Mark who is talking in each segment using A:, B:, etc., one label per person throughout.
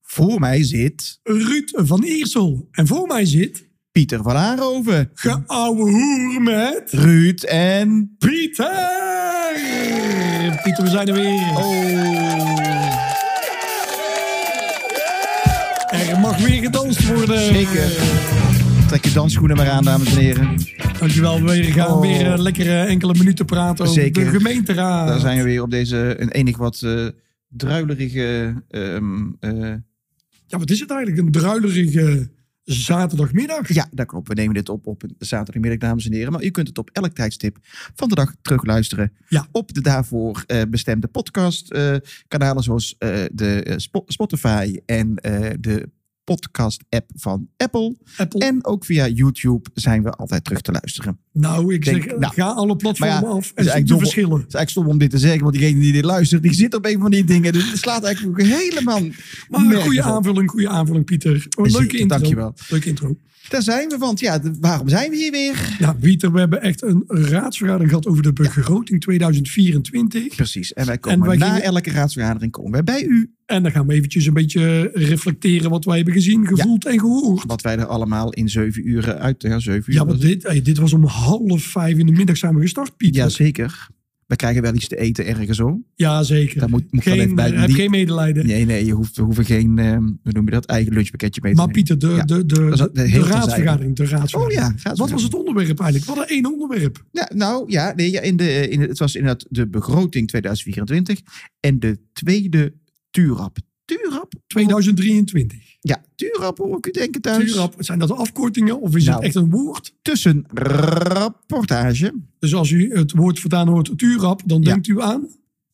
A: Voor mij zit
B: Ruud van Iersel. En voor mij zit
A: Pieter van Aanhoven,
B: geouwe hoer met
A: Ruud en...
B: Pieter. Pieter, we zijn er weer.
A: Oh,
B: Er mag weer gedanst worden.
A: zeker. Trek je dansschoenen maar aan, dames en heren.
B: Dankjewel. We gaan
A: Oh.
B: weer eh, lekker eh, enkele minuten praten over
A: Zeker.
B: de gemeenteraad.
A: Daar zijn we weer op deze een enig wat eh, druilerige... ehm, eh,
B: Ja, wat is het eigenlijk? Een druilerige zaterdagmiddag.
A: ja, dat klopt. We nemen dit op op een zaterdagmiddag, dames en heren. Maar u kunt het op elk tijdstip van de dag terugluisteren.
B: Ja.
A: Op de daarvoor eh, bestemde podcastkanalen zoals eh, de eh, Spo- Spotify en eh, de podcast-app van Apple.
B: Apple.
A: En ook via YouTube zijn we altijd terug te luisteren.
B: nou, ik
A: Denk-
B: zeg,
A: nou.
B: ga alle platformen
A: Maar ja, dus
B: af
A: is
B: en zie
A: eigenlijk
B: de
A: dom-
B: verschillen.
A: Het is eigenlijk stom om dit te zeggen, want diegene die dit luistert, die zit op een van die dingen. Dus het slaat eigenlijk ook helemaal
B: Maar een
A: nergens
B: goede
A: op.
B: aanvulling, goede aanvulling, Pieter. Oh,
A: Zeker,
B: leuke intro.
A: dankjewel.
B: Leuke intro.
A: Daar zijn we, want ja, de- waarom zijn we hier weer?
B: Ja, Pieter, we hebben echt een raadsvergadering gehad over de begroting 2024.
A: Precies, en wij komen
B: En wij
A: na
B: gingen-
A: elke raadsvergadering komen wij bij u.
B: E En dan gaan we eventjes een beetje reflecteren wat wij hebben gezien, gevoeld en gehoord.
A: Wat wij er allemaal in zeven uren uit... Ja, zeven uur.
B: Ja, want dit, hey, dit was om half vijf in de middag zijn we gestart, Pieter.
A: Ja, zeker. We krijgen wel iets te eten ergens, hoor.
B: Ja, zeker.
A: Daar moet- moet wel
B: geen, eh,
A: even bij-
B: heb
A: die-
B: geen medelijden.
A: Nee, nee, je hoeft, we hoeven geen, eh, hoe noem je dat, eigen lunchpakketje mee te
B: Maar
A: nemen.
B: Pieter, de,
A: Ja.
B: de, de,
A: is
B: de,
A: al- heel terzijde.
B: raadsvergadering, de
A: Oh
B: raadsvergadering.
A: ja, raadsvergadering.
B: Wat was het onderwerp eigenlijk? Wat een één onderwerp.
A: Ja, nou ja, nee, ja in de, in, het was inderdaad de begroting 2024 en de tweede Turap. Turap?
B: 2023.
A: Ja, Turap hoor ik u denken thuis.
B: Tuurap, zijn dat afkortingen of is
A: Nou.
B: het echt een woord?
A: Tussen rapportage.
B: Dus als u het woord vandaan hoort, tuurap, dan
A: Ja.
B: denkt u aan.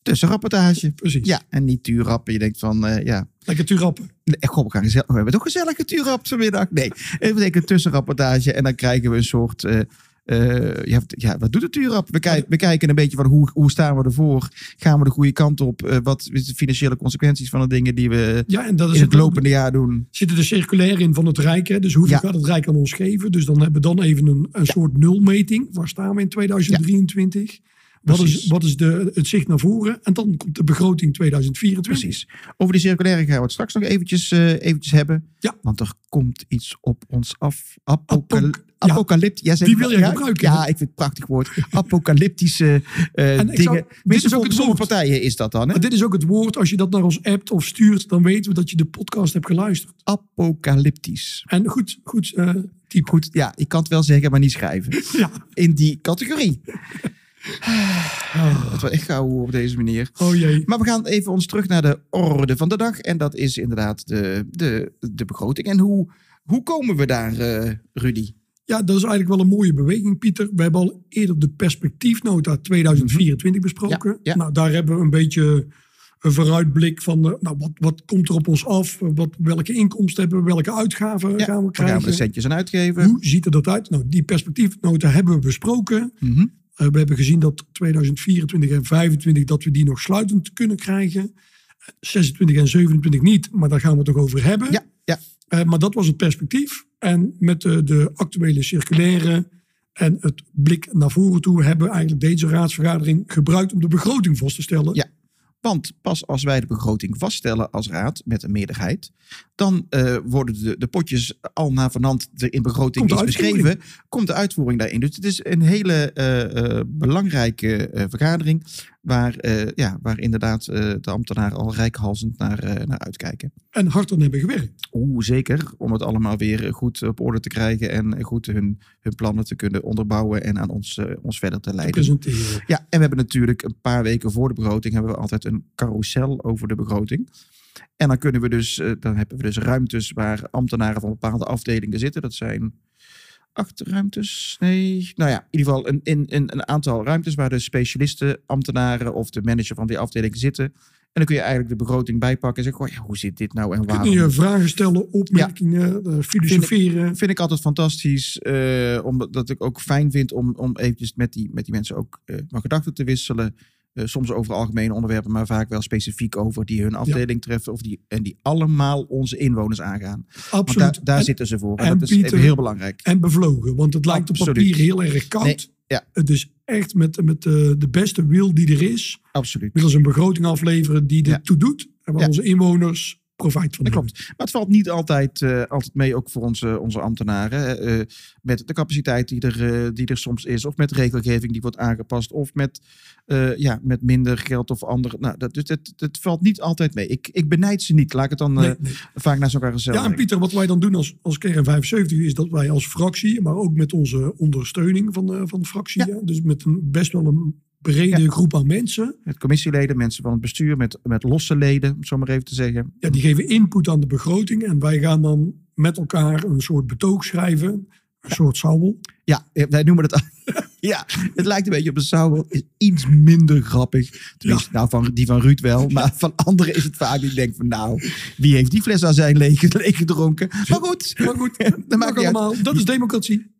A: Tussen rapportage.
B: Precies.
A: Ja, en niet Turap. En je denkt van, eh, ja,
B: Lekker tuurrappen.
A: Nee, goh, we, gaan gezellig, we hebben toch gezellig een tuurrap vanmiddag? Nee, even denken een tussenrapportage en dan krijgen we een soort... eh, eh, ja, wat- ja, wat doet het tuurrap? We, kijk- we kijken een beetje van hoe, hoe staan we ervoor? Gaan we de goede kant op? Eh, wat zijn de financiële consequenties van de dingen die we
B: Ja, en dat is
A: in het
B: ook-
A: lopende jaar doen?
B: Zitten er circulair in van het Rijk. Hè? Dus hoeveel
A: Ja.
B: gaat het Rijk aan ons geven? Dus dan hebben we dan even een, een soort nulmeting. Waar staan we in 2023? Wat is,
A: Precies.
B: wat is de, het zicht naar voren? En dan komt de begroting 2024.
A: Precies. Over die circulaire gaan we het straks nog eventjes, eh, eventjes hebben.
B: Ja.
A: Want er komt iets op ons af. Apocal
B: Apoc- ja.
A: Apocalypt. Ja, zeg
B: Die
A: ik-
B: wil jij
A: ja,
B: gebruiken.
A: Ja, ik vind het een prachtig woord. Apocalyptische eh,
B: En ik zou-
A: dingen.
B: dit is
A: Dit
B: ook
A: is ook
B: het
A: sommige
B: woord.
A: partijen is dat dan. Hè?
B: Maar dit is ook het woord. Als je dat naar ons appt of stuurt, dan weten we dat je de podcast hebt geluisterd.
A: Apocalyptisch.
B: En goed, goed eh type.
A: Goed, ja, ik kan het wel zeggen, maar niet schrijven.
B: Ja.
A: In die categorie. Ah, Het was echt gauw op deze manier.
B: Oh jee.
A: Maar we gaan even ons terug naar de orde van de dag. En dat is inderdaad de, de, de begroting. En hoe, hoe komen we daar, eh, Rudy?
B: Ja, dat is eigenlijk wel een mooie beweging, Pieter. We hebben al eerder de perspectiefnota 2024 besproken.
A: Mhm. Ja, ja.
B: Nou, daar hebben we een beetje een vooruitblik van eh, nou, wat, wat komt er op ons af? Wat, welke inkomsten hebben we? Welke uitgaven
A: Ja,
B: gaan we
A: Daar gaan
B: krijgen?
A: we de centjes aan uitgeven.
B: Hoe ziet er dat uit? Nou, die perspectiefnota hebben we besproken.
A: Mhm.
B: Eh, we hebben gezien dat 2024 en 2025 dat we die nog sluitend kunnen krijgen. 26 en 27 niet, maar daar gaan we het nog over hebben.
A: Ja, ja.
B: Eh, maar dat was het perspectief. En met de, de actuele circulaire en het blik naar voren toe hebben we eigenlijk deze raadsvergadering gebruikt om de begroting vast te stellen.
A: Ja. Want pas als wij de begroting vaststellen als raad met een meerderheid, dan eh, worden de, de potjes al na vanhand er in begroting
B: Komt de
A: is
B: uitvoering.
A: beschreven, komt de uitvoering daarin. Dus het is een hele eh, eh, belangrijke eh, vergadering waar, eh, ja, waar inderdaad eh, de ambtenaren al rijkhalsend naar, eh, naar uitkijken.
B: En hard aan hebben gewerkt.
A: Oeh, zeker, om het allemaal weer goed op orde te krijgen en goed hun, hun plannen te kunnen onderbouwen en aan ons, eh, ons verder te leiden.
B: Presenteren.
A: Ja, en we hebben natuurlijk een paar weken voor de begroting hebben we altijd een carousel over de begroting. En dan kunnen we dus, eh, dan hebben we dus ruimtes waar ambtenaren van bepaalde afdelingen zitten. Dat zijn acht ruimtes. Nee, nou ja, in ieder geval een, in, in, een aantal ruimtes waar de specialisten, ambtenaren of de manager van die afdeling zitten. En dan kun je eigenlijk de begroting bijpakken en zeggen, oh ja, hoe zit dit nou en
B: Kun
A: waarom?
B: je vragen stellen, opmerkingen, eh, filosoferen.
A: vind ik altijd fantastisch. eh, omdat ik ook fijn vind om, om eventjes met die, met die mensen ook eh, van gedachten te wisselen. Eh, soms over algemene onderwerpen, maar vaak wel specifiek over die hun afdeling treffen. Of die, en die allemaal onze inwoners aangaan. Want
B: Absoluut.
A: daar, daar
B: En-
A: zitten ze voor. En,
B: en
A: dat is even
B: Pieter-
A: heel belangrijk.
B: en bevlogen. Want het lijkt op
A: Absoluut.
B: papier heel erg koud.
A: Nee, ja.
B: Het is echt met, met de, de beste wil die er is.
A: Absoluut.
B: willen ze een begroting afleveren die
A: Ja.
B: ertoe doet. En waar
A: Ja.
B: onze inwoners profijt van
A: Dat
B: hebben.
A: klopt. Maar het valt niet altijd, eh, altijd mee, ook voor onze, onze ambtenaren. hè, eh, met de capaciteit die er, eh, die er soms is, of met regelgeving die wordt aangepast, of met, eh, ja, met minder geld of ander. Nou, dat, dus het, het valt niet altijd mee. Ik, ik benijd ze niet. Laat ik het dan eh,
B: Nee, nee.
A: vaak naast elkaar gezellig.
B: Ja, en Pieter, wat wij dan doen als, als Kern 75 is dat wij als fractie, maar ook met onze ondersteuning van de, van de fractie, ja, dus met een, best wel een brede groep aan mensen,
A: Met commissieleden, mensen van het bestuur, met, met losse leden, om het zo maar even te zeggen.
B: ja, die geven input aan de begroting en wij gaan dan met elkaar een soort betoog schrijven, een soort saubel.
A: Ja, eh, wij noemen het. ja, het lijkt een beetje op een sauer. Is iets minder grappig. Tenminste, nou, van, die van Ruud wel. Maar van anderen is het vaak. Die denkt van, nou, wie heeft die fles aan zijn leeg, leeg gedronken? Maar goed,
B: Maar goed,
A: dat maakt niet uit.
B: allemaal, dat is democratie.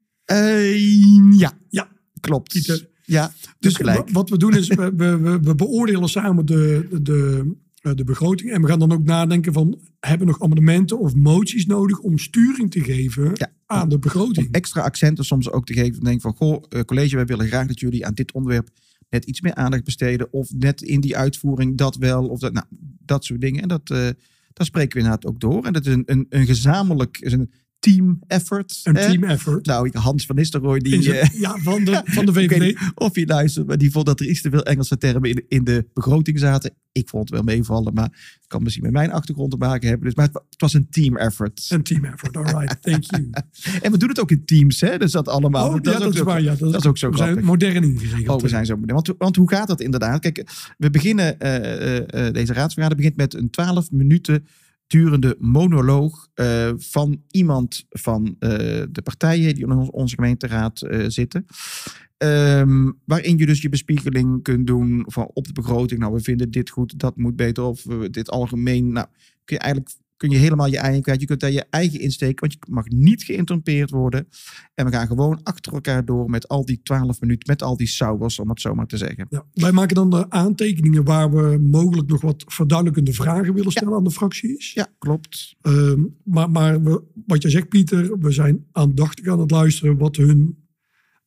A: Eh, ja,
B: Ja,
A: klopt.
B: Pieter.
A: Ja, dus gelijk.
B: wa- Wat we doen is, we, we, we, we beoordelen samen de, de- de, eh, de begroting. En we gaan dan ook nadenken van, hebben we nog amendementen of moties nodig om sturing te geven
A: Ja.
B: aan de begroting?
A: Om extra accenten soms ook te geven. Denk van, goh, eh, college, wij willen graag dat jullie aan dit onderwerp net iets meer aandacht besteden. Of net in die uitvoering dat wel. Of dat, nou, dat soort dingen. En dat, eh dat spreken we inderdaad ook door. En dat is een, een, een gezamenlijk, is een team effort.
B: Een
A: hè?
B: team effort.
A: Nou, Hans van Nistelrooy,
B: Is
A: die,
B: het-
A: eh,
B: ja, van de, van de
A: ik weet
B: VVD.
A: niet of je luistert, maar die vond dat er iets te veel Engelse termen in, in de begroting zaten. Ik vond het wel meevallen, maar het kan misschien met mijn achtergrond te maken hebben. Dus, maar het, wa- het was een team effort.
B: Een team effort, all right, thank you.
A: En we doen het ook in teams, hè? Dus dat allemaal.
B: Oh,
A: dat
B: ja,
A: is ook
B: dat is
A: zo-
B: waar. Ja,
A: dat is ook zo
B: we zijn
A: grappig.
B: modern ingeregeld.
A: Oh, we zijn zo benieuwd. Want, want hoe gaat dat inderdaad? Kijk, we beginnen, eh, eh, eh, deze raadsvergadering begint met een 12 minuten durende monoloog eh, van iemand van eh, de partijen die in ons- onze gemeenteraad eh, zitten. Ehm, waarin je dus je bespiegeling kunt doen van op de begroting. Nou, we vinden dit goed, dat moet beter. Of eh, dit algemeen. Nou, kun je eigenlijk kun je helemaal je eigen kwijt. Je kunt daar je eigen insteken, want je mag niet geïnterrumpeerd worden. En we gaan gewoon achter elkaar door met al die 12 minuten, met al die sauwers, om het zo maar te zeggen.
B: Ja, wij maken dan de aantekeningen waar we mogelijk nog wat verduidelijkende vragen willen stellen aan de fracties.
A: Ja, klopt.
B: Ehm, maar maar we, wat jij zegt, Pieter, we zijn aandachtig aan het luisteren wat hun,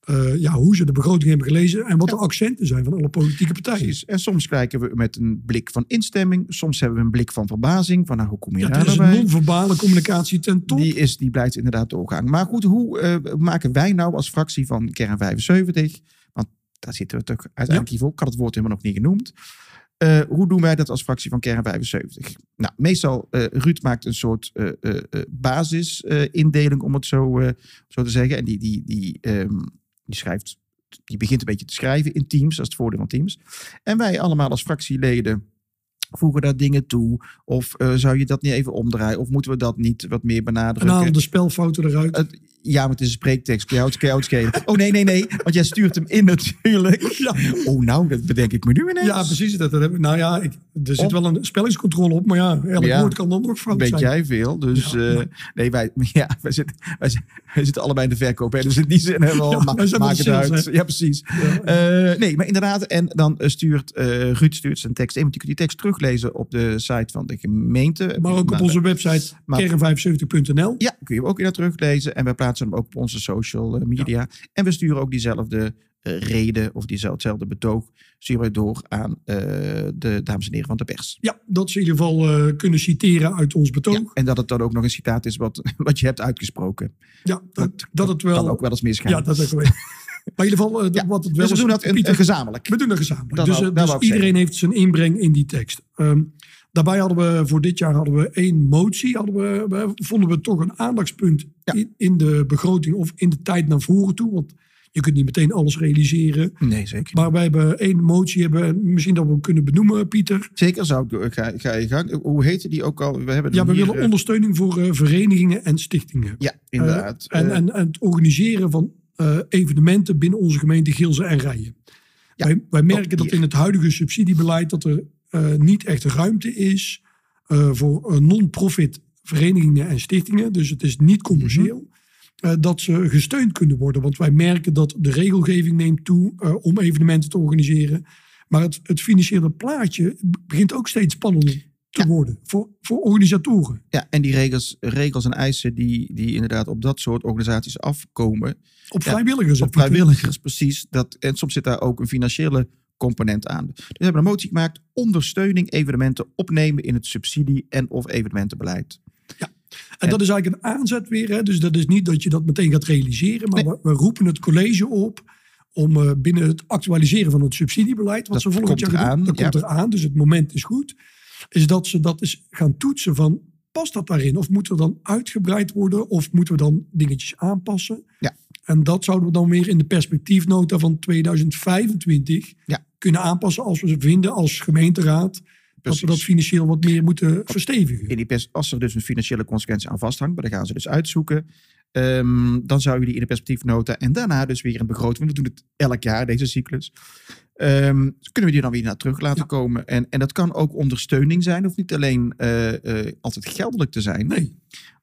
B: eh, ja, hoe ze de begroting hebben gelezen en wat de accenten zijn van alle politieke partijen.
A: Precies. En soms kijken we met een blik van instemming. Soms hebben we een blik van verbazing. Van nou, hoe kom je
B: Ja,
A: daar
B: dat is
A: nou
B: een
A: bij?
B: non-verbale communicatie ten top.
A: Die, is, die blijft inderdaad doorgaan. Maar goed, hoe eh, maken wij nou als fractie van Kern 75? Want daar zitten we toch uiteindelijk hiervoor. Ik had het woord helemaal nog niet genoemd. Eh, hoe doen wij dat als fractie van Kern 75? Nou, meestal, eh Ruud maakt een soort eh, eh, eh, basisindeling, om het zo, eh, zo te zeggen. En die, die, die, ehm, die schrijft, die begint een beetje te schrijven in Teams. Dat is het voordeel van Teams. En wij allemaal als fractieleden voegen daar dingen toe. Of eh, zou je dat niet even omdraaien? Of moeten we dat niet wat meer
B: en
A: benadrukken?
B: halen de spelfouten eruit.
A: Het- ja, maar het is een spreektekst. Kun je het- kun je het schelen? Oh nee, nee, nee. Want jij stuurt hem in natuurlijk. Oh nou, dat bedenk ik me nu ineens.
B: Ja, precies. Dat, dat hebben, nou ja, ik, er zit
A: Om-
B: wel een spellingscontrole op, maar ja, elk
A: Ja.
B: woord kan dan nog fout
A: Weet
B: zijn.
A: jij veel. Dus
B: Ja.
A: eh, nee, wij, ja, wij, zitten, wij, zi- wij zitten allebei in de verkoop. Hè, dus in die zin hebben we al.
B: Ja,
A: ma-
B: wij zijn
A: maak
B: met
A: het
B: de sales,
A: uit.
B: hè.
A: Ja, precies. Eh, nee, maar inderdaad. En dan eh, stuurt eh, Ruud stuurt zijn tekst in. Want je kunt die tekst teruglezen op de site van de gemeente.
B: Maar ook op
A: Nou,
B: onze website
A: maar-
B: kern75.nl.
A: Ja, kun je hem ook weer teruglezen. En wij plaatsen hem ook op onze social eh, media. En we sturen ook diezelfde eh, reden of diezelfde betoog sturen we door aan eh, de dames en heren van de pers.
B: Ja, dat ze in ieder geval eh, kunnen citeren uit ons betoog.
A: Ja,
B: Ja,
A: en dat het dan ook nog een citaat is wat, wat je hebt uitgesproken.
B: dat, dat het
A: Kan
B: wel...
A: ook wel eens misgaan.
B: ja, dat ook wel. maar in ieder geval, eh,
A: Ja,
B: wat het
A: dus
B: wel
A: we
B: is-
A: doen dat in,
B: Pieter,
A: eh, gezamenlijk.
B: We doen dat gezamenlijk.
A: Dat
B: dus
A: wou-
B: eh,
A: dat
B: dus
A: wou ik
B: iedereen heeft zijn inbreng in die tekst. Ehm, daarbij hadden we voor dit jaar hadden we één motie. Hadden we, we- vonden we toch een aandachtspunt
A: Ja.
B: in, in de begroting of in de tijd naar voren toe. Want je kunt niet meteen alles realiseren.
A: Nee, zeker.
B: Maar wij hebben één motie, hebben, en misschien dat we hem kunnen benoemen, Pieter.
A: Zeker zou ik door- ga, ga je gang. Hoe heette die ook al? We hebben
B: Ja,
A: hem
B: we
A: hier,
B: willen
A: eh,
B: ondersteuning voor eh, verenigingen en stichtingen.
A: Ja, inderdaad.
B: En,
A: Eh,
B: en, en het organiseren van eh, evenementen binnen onze gemeente Gilze en Rijen.
A: Ja, Oh,
B: wij, wij merken
A: hier.
B: dat in het huidige subsidiebeleid dat er eh, niet echt ruimte is eh, voor eh, non-profit verenigingen en stichtingen. Dus het is niet commercieel. eh,
A: Mhm.
B: dat ze gesteund kunnen worden. Want wij merken dat de regelgeving neemt toe eh, om evenementen te organiseren. Maar het, het financiële plaatje begint ook steeds spannender te worden voor, voor organisatoren.
A: ja, en die regels, regels en eisen die, die inderdaad op dat soort organisaties afkomen,
B: Op
A: Ja,
B: vrijwilligers.
A: Op
B: hè, Pieter?
A: vrijwilligers, precies. Dat, en soms zit daar ook een financiële component aan. Dus we hebben een motie gemaakt. Ondersteuning evenementen opnemen in het subsidie- en of evenementenbeleid.
B: En dat is eigenlijk een aanzet weer. Hè? Dus dat is niet dat je dat meteen gaat realiseren. Maar we, we roepen het college op om eh, binnen het actualiseren van het subsidiebeleid. Wat
A: Dat
B: ze volgend
A: komt
B: jaar gaan doen,
A: eraan,
B: dat
A: ja.
B: komt eraan. Dus het moment is goed. Is dat ze dat eens gaan toetsen van past dat daarin? Of moeten we dan uitgebreid worden? Of moeten we dan dingetjes aanpassen?
A: Ja.
B: En dat zouden we dan weer in de perspectiefnota van 2025
A: Ja.
B: kunnen aanpassen als we ze vinden als gemeenteraad. Dat
A: Precies.
B: we dat financieel wat meer moeten verstevigen.
A: in die pers, als er dus een financiële consequentie aan vasthangt, maar dat gaan ze dus uitzoeken. ehm, dan zou je die in de perspectiefnota en daarna dus weer een begroting. Want we doen het elk jaar, deze cyclus. Ehm, kunnen we die dan weer naar terug laten
B: Ja.
A: komen? En, en dat kan ook ondersteuning zijn, of niet alleen eh, eh, altijd geldelijk te zijn.
B: Nee.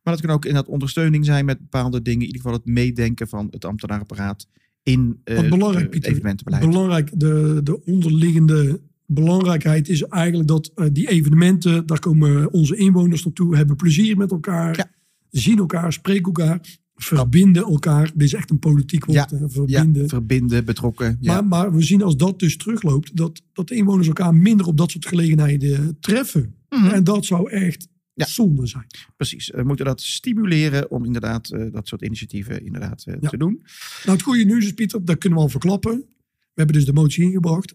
A: Maar dat kan ook inderdaad ondersteuning zijn met bepaalde dingen. In ieder geval het meedenken van het ambtenarenapparaat in eh,
B: Wat belangrijk,
A: het
B: Pieter.
A: evenementenbeleid.
B: Belangrijk, de, de onderliggende belangrijkheid is eigenlijk dat eh, die evenementen, daar komen onze inwoners naartoe, hebben plezier met elkaar,
A: Ja.
B: zien elkaar, spreken elkaar, verbinden elkaar. Dit is echt een politiek woord, hè,
A: ja,
B: verbinden.
A: verbinden, betrokken. Ja.
B: Maar, maar we zien als dat dus terugloopt, dat, dat de inwoners elkaar minder op dat soort gelegenheden eh, treffen.
A: Mhm.
B: En dat zou echt
A: Ja.
B: zonde zijn.
A: Precies, we moeten dat stimuleren om inderdaad eh, dat soort initiatieven inderdaad, eh,
B: Ja.
A: te doen.
B: Nou, het goede nieuws is, Pieter, dat kunnen we al verklappen. We hebben dus de motie ingebracht.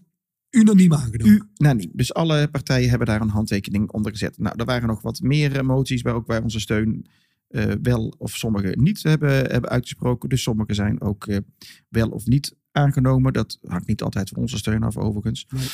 B: Unaniem aangenomen.
A: Unaniem. Dus alle partijen hebben daar een handtekening onder gezet. Nou, er waren nog wat meer eh, moties waar ook wij onze steun eh, wel of sommige niet hebben, hebben uitgesproken. Dus sommige zijn ook eh, wel of niet aangenomen. Dat hangt niet altijd van onze steun af, overigens.
B: Nee.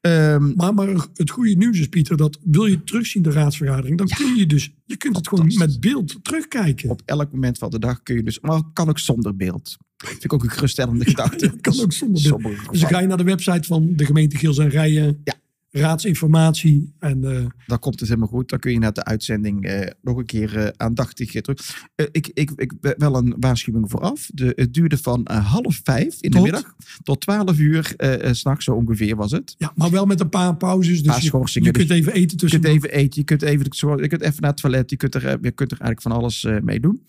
A: Ehm,
B: Maar, maar het goede nieuws is, Pieter, dat wil je terugzien de raadsvergadering, dan kun je dus, je kunt het gewoon
A: Fantastisch.
B: met beeld terugkijken.
A: op elk moment van de dag kun je dus, maar kan ook zonder beeld. Vind ik ook een geruststellende gedachte.
B: dat kan ook zonder beeld.
A: Sommige
B: Dus dan
A: gevallen.
B: ga je naar de website van de gemeente Geels en Rijen,
A: Ja.
B: raadsinformatie en eh,
A: dan komt het helemaal goed. Dan kun je na de uitzending eh, nog een keer eh, aandachtig eh, terug. Eh, ik, ik, ik, wel een waarschuwing vooraf. De, het duurde van eh, half vijf in de
B: Tot?
A: middag tot twaalf uur eh, eh, 's s'nachts, zo ongeveer was het.
B: ja, maar wel met een paar pauzes. Dus
A: Paar
B: je- je,
A: schorsingen, dus
B: kunt even eten
A: Je
B: tussen.
A: kunt even eten, je kunt even, je kunt even naar het toilet, je kunt er, eh, je kunt er eigenlijk van alles eh, mee doen.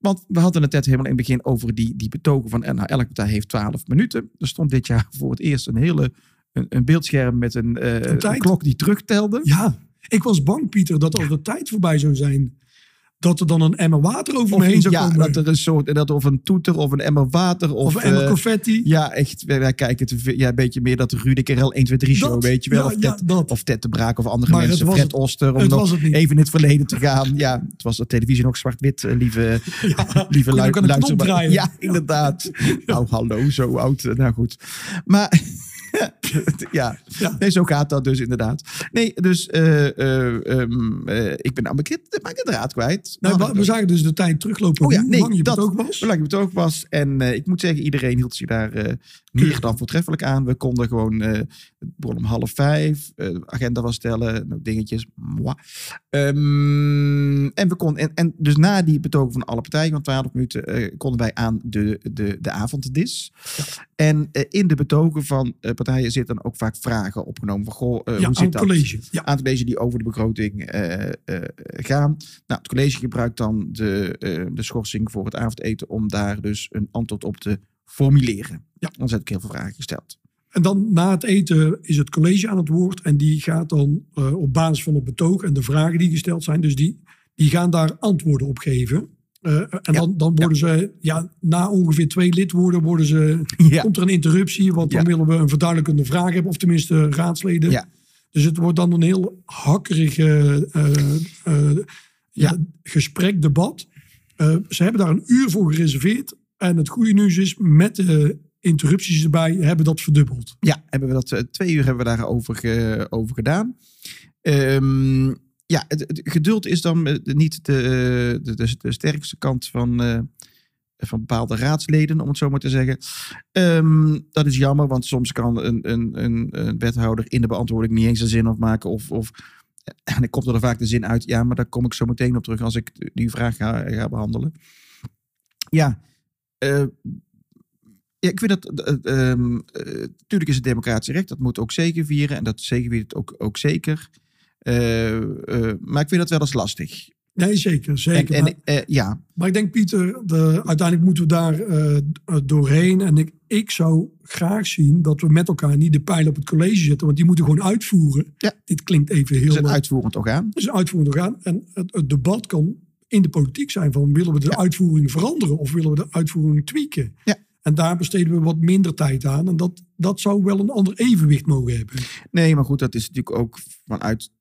A: Want we hadden het net helemaal in het begin over die, die betogen van eh, nou, elk partij heeft 12 minuten. Er stond dit jaar voor het eerst een hele een, een beeldscherm met een, eh,
B: Een tijd.
A: een klok die terugtelde.
B: Ja, ik was bang, Pieter, dat als de tijd voorbij zou zijn, dat er dan een emmer water over me heen zou
A: ja,
B: komen.
A: dat er een soort, dat of een toeter of een emmer water of,
B: of een emmer
A: eh,
B: confetti.
A: Ja, echt. Wij kijken te veel- ja, een beetje meer dat Ruud RL 1, 2, 3 show,
B: Dat,
A: weet je wel.
B: ja,
A: of,
B: ja,
A: Ted,
B: dat.
A: of Ted de Braak of andere
B: Maar het
A: mensen.
B: was
A: Fred
B: het-
A: Oster, om
B: het
A: nog
B: was het niet.
A: even in het verleden te gaan. Ja, het was de televisie nog zwart-wit, eh, lieve, lieve
B: kon
A: lu-
B: ook aan de knop
A: luisteraar.
B: draaien.
A: Ja, inderdaad. Nou, hallo, zo oud. Eh, Nou goed. Maar... ja,
B: Ja.
A: Nee, zo gaat dat dus inderdaad. Nee, dus eh, eh, ehm, eh, ik ben aan mijn kind- mijn draad kwijt. Oh,
B: Nou,
A: Hadden
B: we,
A: het
B: we zagen dus de tijd teruglopen.
A: Oh ja,
B: hoe
A: nee,
B: lang je
A: dat-
B: dat ook was.
A: hoe lang het ook was. En eh, ik moet zeggen, iedereen hield zich daar eh, meer dan voortreffelijk aan. We konden gewoon, eh, het begon om half vijf, eh, de agenda was stellen, nog dingetjes. moi. Ehm, en, we kon, en, en dus na die betogen van alle partijen van 12 minuten, eh, konden wij aan de, de, de avonddis. En eh, in de betogen van eh, partijen zitten dan ook vaak vragen opgenomen. Van, goh, eh,
B: ja,
A: hoe
B: aan
A: zit
B: het
A: dat?
B: college. Ja.
A: Een aantal deze die over de begroting eh, eh, gaan. Nou, het college gebruikt dan de, eh, de schorsing voor het avondeten om daar dus een antwoord op te formuleren.
B: Ja.
A: Anders heb ik heel veel vragen gesteld.
B: En dan na het eten is het college aan het woord. En die gaat dan eh, op basis van het betoog en de vragen die gesteld zijn. Dus die, die gaan daar antwoorden op geven. Eh, en
A: Ja,
B: dan, dan worden ze, ja, na ongeveer twee lidwoorden worden ze,
A: Ja.
B: komt er een interruptie. Want dan
A: Ja.
B: willen we een verduidelijkende vraag hebben. Of tenminste raadsleden.
A: Ja.
B: Dus het wordt dan een heel hakkerig eh, eh, eh, ja, gesprek, debat. Eh, ze hebben daar een uur voor gereserveerd. En het goede nieuws is, met de interrupties erbij, hebben dat verdubbeld.
A: Ja, hebben we dat eh, twee uur hebben we daarover ge- over gedaan. Ehm, ja, het, het geduld is dan eh, niet de, de, de, de sterkste kant van, eh, van bepaalde raadsleden, om het zo maar te zeggen. Ehm, dat is jammer, want soms kan een, een, een, een wethouder in de beantwoording niet eens een zin afmaken. Of, of, eh, en dan komt er dan vaak de zin uit, ja, maar daar kom ik zo meteen op terug als ik die vraag ga, ga behandelen. Ja, eh, ja, ik vind dat. eh, ehm, eh, tuurlijk is het democratisch recht, dat moet ook zeker vieren. En dat zeker viert het ook, ook zeker. Eh, eh, maar ik vind dat wel eens lastig.
B: Nee, zeker.
A: En,
B: zeker.
A: en,
B: maar,
A: eh, ja,
B: maar ik denk, Pieter, de, uiteindelijk moeten we daar eh, doorheen. En ik, ik zou graag zien dat we met elkaar niet de pijl op het college zetten. Want die moeten gewoon uitvoeren.
A: Ja.
B: Dit klinkt even
A: het
B: heel...
A: is een
B: eh,
A: uitvoerend orgaan.
B: dus uitvoering doorgaan. En het, het debat kan in de politiek zijn van willen we de uitvoering veranderen of willen we de uitvoering tweaken.
A: Ja.
B: En daar besteden we wat minder tijd aan. En dat, dat zou wel een ander evenwicht mogen hebben.
A: Nee, maar goed, dat is natuurlijk ook vanuit.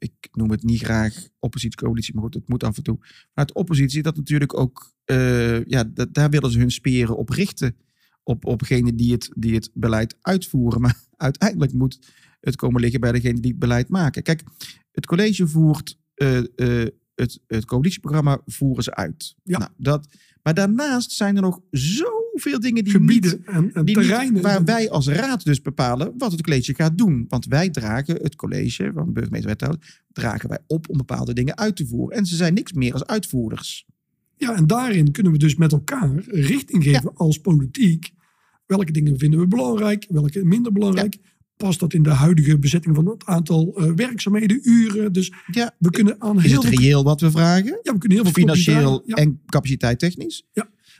A: Ik noem het niet graag oppositiecoalitie, maar goed, het moet af en toe. Vanuit de oppositie, dat natuurlijk ook. eh, ja, dat, daar willen ze hun speren op richten. Op, op degene die het, die het beleid uitvoeren. Maar uiteindelijk moet het komen liggen bij degene die het beleid maken. Kijk, het college voert. eh, eh, het, het coalitieprogramma voeren ze uit.
B: Ja.
A: Nou, dat, maar daarnaast zijn er nog zoveel dingen die niet
B: Gebieden en,
A: die
B: en
A: niet-
B: terreinen.
A: waar wij als raad dus bepalen wat het college gaat doen. Want wij dragen het college van burgemeester wethouder, dragen wij op om bepaalde dingen uit te voeren. En ze zijn niks meer als uitvoerders.
B: Ja, en daarin kunnen we dus met elkaar richting geven als politiek. Welke dingen vinden we belangrijk, welke minder belangrijk. Past dat in de huidige bezetting van het aantal eh, werkzaamheden, uren? Dus
A: Ja,
B: we kunnen aan
A: is
B: heel
A: het
B: veel...
A: reëel wat we vragen?
B: Ja, we kunnen heel veel knopjes
A: Financieel
B: draaien. Ja.
A: en capaciteit technisch?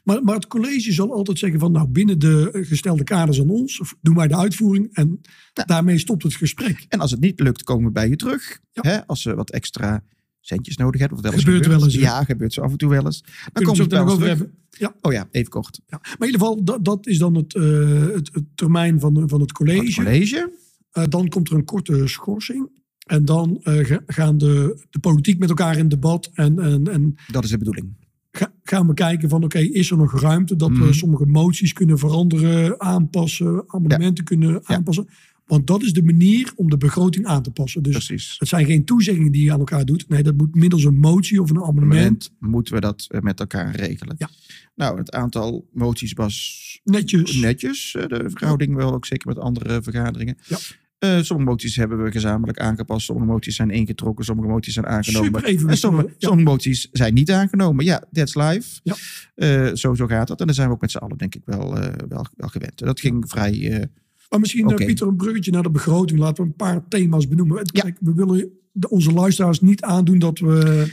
B: Maar, maar het college zal altijd zeggen van nou binnen de eh, gestelde kaders aan ons, of doen wij de uitvoering en daarmee stopt het gesprek.
A: En als het niet lukt, komen we bij je terug.
B: Ja.
A: Hè, als ze wat extra centjes nodig hebben. Of wel eens
B: Gebeurt wel eens, hè?
A: Ja, gebeurt zo af en toe wel eens. Dan
B: Kunnen
A: komen
B: we
A: ze
B: het
A: bij
B: zo
A: ons
B: nog over
A: terug.
B: hebben. Ja,
A: Oh ja, even kort.
B: ja. Maar in ieder geval, dat, dat is dan het, eh, het, het termijn van, van het college.
A: Het college.
B: Eh, dan komt er een korte schorsing. En dan eh, ga- gaan de, de politiek met elkaar in debat. En, en, en
A: Dat is de bedoeling.
B: ga- gaan we kijken van oké, is er nog ruimte dat
A: Mhm.
B: we sommige moties kunnen veranderen, aanpassen, amendementen kunnen aanpassen. Want dat is de manier om de begroting aan te passen. Dus
A: Precies.
B: Het zijn geen toezeggingen die je aan elkaar doet. Nee, dat moet middels een motie of een amendement.
A: moment moeten we dat eh, met elkaar regelen.
B: Ja.
A: Nou, het aantal moties was
B: Netjes.
A: netjes. eh, De verhouding wel, ook zeker met andere vergaderingen.
B: Ja.
A: Eh, sommige moties hebben we gezamenlijk aangepast. Sommige moties zijn ingetrokken. Sommige moties zijn aangenomen.
B: Super even.
A: En sommige, sommige moties zijn niet aangenomen. Ja, that's life.
B: Ja.
A: Eh, zo, zo gaat dat. En daar zijn we ook met z'n allen denk ik wel, eh, wel, wel gewend. Dat ging vrij... eh,
B: Maar misschien eh,
A: Oké.
B: Pieter een bruggetje naar de begroting. Laten we een paar thema's benoemen.
A: Ja.
B: Kijk, we willen de- onze luisteraars niet aandoen dat we,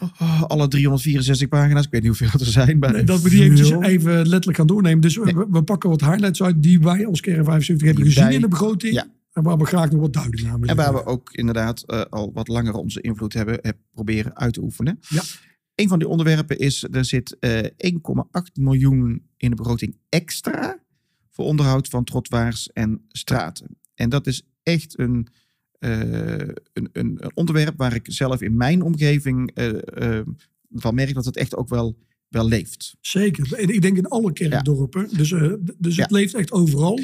A: oh, alle 364 pagina's. Ik weet niet hoeveel er zijn. Maar
B: Eh, dat we die eventjes
A: veel.
B: even letterlijk gaan doornemen. Dus we-
A: Nee.
B: we, we pakken wat highlights uit die wij als Kern 75 hebben
A: Die
B: gezien
A: wij-
B: in de begroting.
A: Ja.
B: En waar we graag nog wat duiding aan willen.
A: En waar
B: geven.
A: we ook inderdaad eh, al wat langer onze invloed hebben, eh, proberen uit te oefenen.
B: Ja.
A: Een van die onderwerpen is, er zit eh, 1,8 miljoen in de begroting extra voor onderhoud van trottoirs en straten. En dat is echt een, eh, een, een, een onderwerp waar ik zelf in mijn omgeving eh, eh, van merk dat het echt ook wel, wel leeft.
B: Zeker. En Ik denk in alle kerkdorpen. Dus, eh, d- dus het leeft echt overal.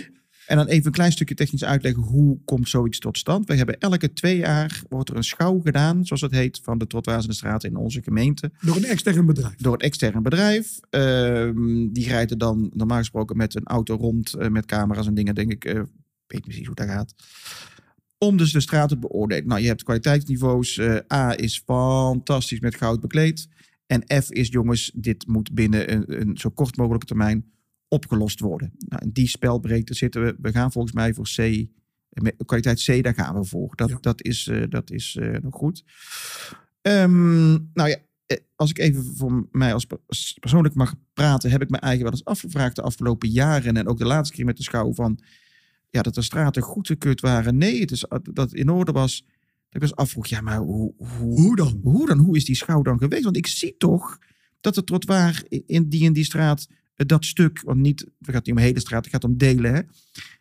A: En dan even een klein stukje technisch uitleggen hoe komt zoiets tot stand. We hebben elke twee jaar wordt er een schouw gedaan, zoals het heet, van de trottoirs en de straten in onze gemeente.
B: Door een extern bedrijf.
A: Door een extern bedrijf. Ehm, die rijdt er dan normaal gesproken met een auto rond eh, met camera's en dingen, denk ik. eh, ik weet niet precies hoe dat gaat. Om dus de straat te beoordelen. Nou, je hebt kwaliteitsniveaus. Eh, A is fantastisch met goud bekleed. En F is, jongens, dit moet binnen een, een zo kort mogelijke termijn opgelost worden. Nou, in die spelbreedte zitten we. We gaan volgens mij voor C. eh, met Kwaliteit C, daar gaan we voor. Dat,
B: Ja.
A: dat is, eh, dat is eh, nog goed. Ehm, nou ja, eh, als ik even voor mij als per- als persoonlijk mag praten, heb ik me eigen wel eens afgevraagd de afgelopen jaren en ook de laatste keer met de schouw van ja, dat de straten goed gekut waren. Nee, het is, dat het in orde was. Dat ik dus afvroeg, ja, maar hoe, hoe,
B: Hoe dan?
A: hoe dan? Hoe is die schouw dan geweest? Want ik zie toch dat het trottoir in die en die straat, eh, dat stuk, want niet, het gaat niet om hele straat, het gaat om delen, hè?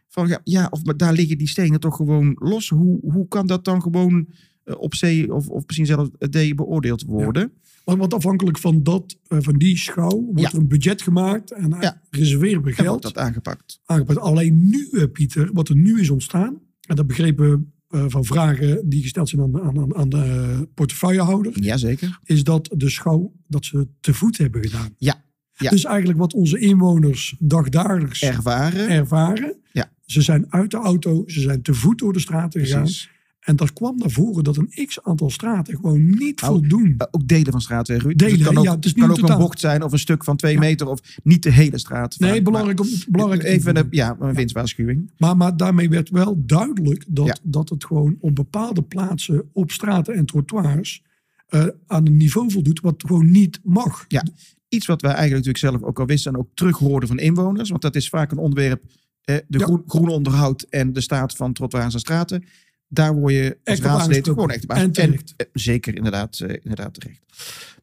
A: Van ja, ja, of maar daar liggen die stenen toch gewoon los. Hoe, hoe kan dat dan gewoon eh, op C of, of misschien zelfs D beoordeeld worden?
B: Want, want afhankelijk van, dat, eh, van die schouw wordt
A: Ja.
B: er een budget gemaakt en eh,
A: Ja.
B: reserveren we
A: En wordt
B: geld.
A: dat aangepakt?
B: aangepakt. Alleen nu, eh, Pieter, wat er nu is ontstaan, en dat begrepen we eh, van vragen die gesteld zijn aan, de- aan, aan- aan de eh, portefeuillehouder,
A: Jazeker.
B: is dat de schouw dat ze te voet hebben gedaan.
A: Ja. Ja.
B: Dus eigenlijk wat onze inwoners dagdagelijks
A: Ervaren.
B: ervaren.
A: Ja.
B: Ze zijn uit de auto, ze zijn te voet door de straten gegaan.
A: Precies.
B: En dat kwam naar voren dat een x-aantal straten gewoon niet
A: Nou,
B: voldoen.
A: Eh, ook delen van straatweg, Ruud. Dus
B: Delen,
A: het kan ook,
B: ja, het is niet
A: kan
B: in
A: ook een
B: totaal.
A: bocht zijn of een stuk van twee meter of niet de hele straat.
B: Nee,
A: Maar-
B: belangrijk om belangrijk om te
A: Even
B: noemen.
A: een, ja, een winstwaarschuwing.
B: Maar, maar daarmee werd wel duidelijk dat,
A: Ja.
B: dat het gewoon op bepaalde plaatsen, op straten en trottoirs, eh, eh, aan een niveau voldoet wat gewoon niet mag.
A: Ja. Iets wat wij eigenlijk natuurlijk zelf ook al wisten en ook terughoorden van inwoners. Want dat is vaak een onderwerp, eh, de
B: Ja.
A: groen, groen onderhoud en de staat van trottoirs en straten. Daar word je als
B: Echt op
A: raadslid
B: aangesproken.
A: gewoon echt op
B: En
A: aangesproken.
B: terecht.
A: Eh, zeker inderdaad, eh, inderdaad terecht.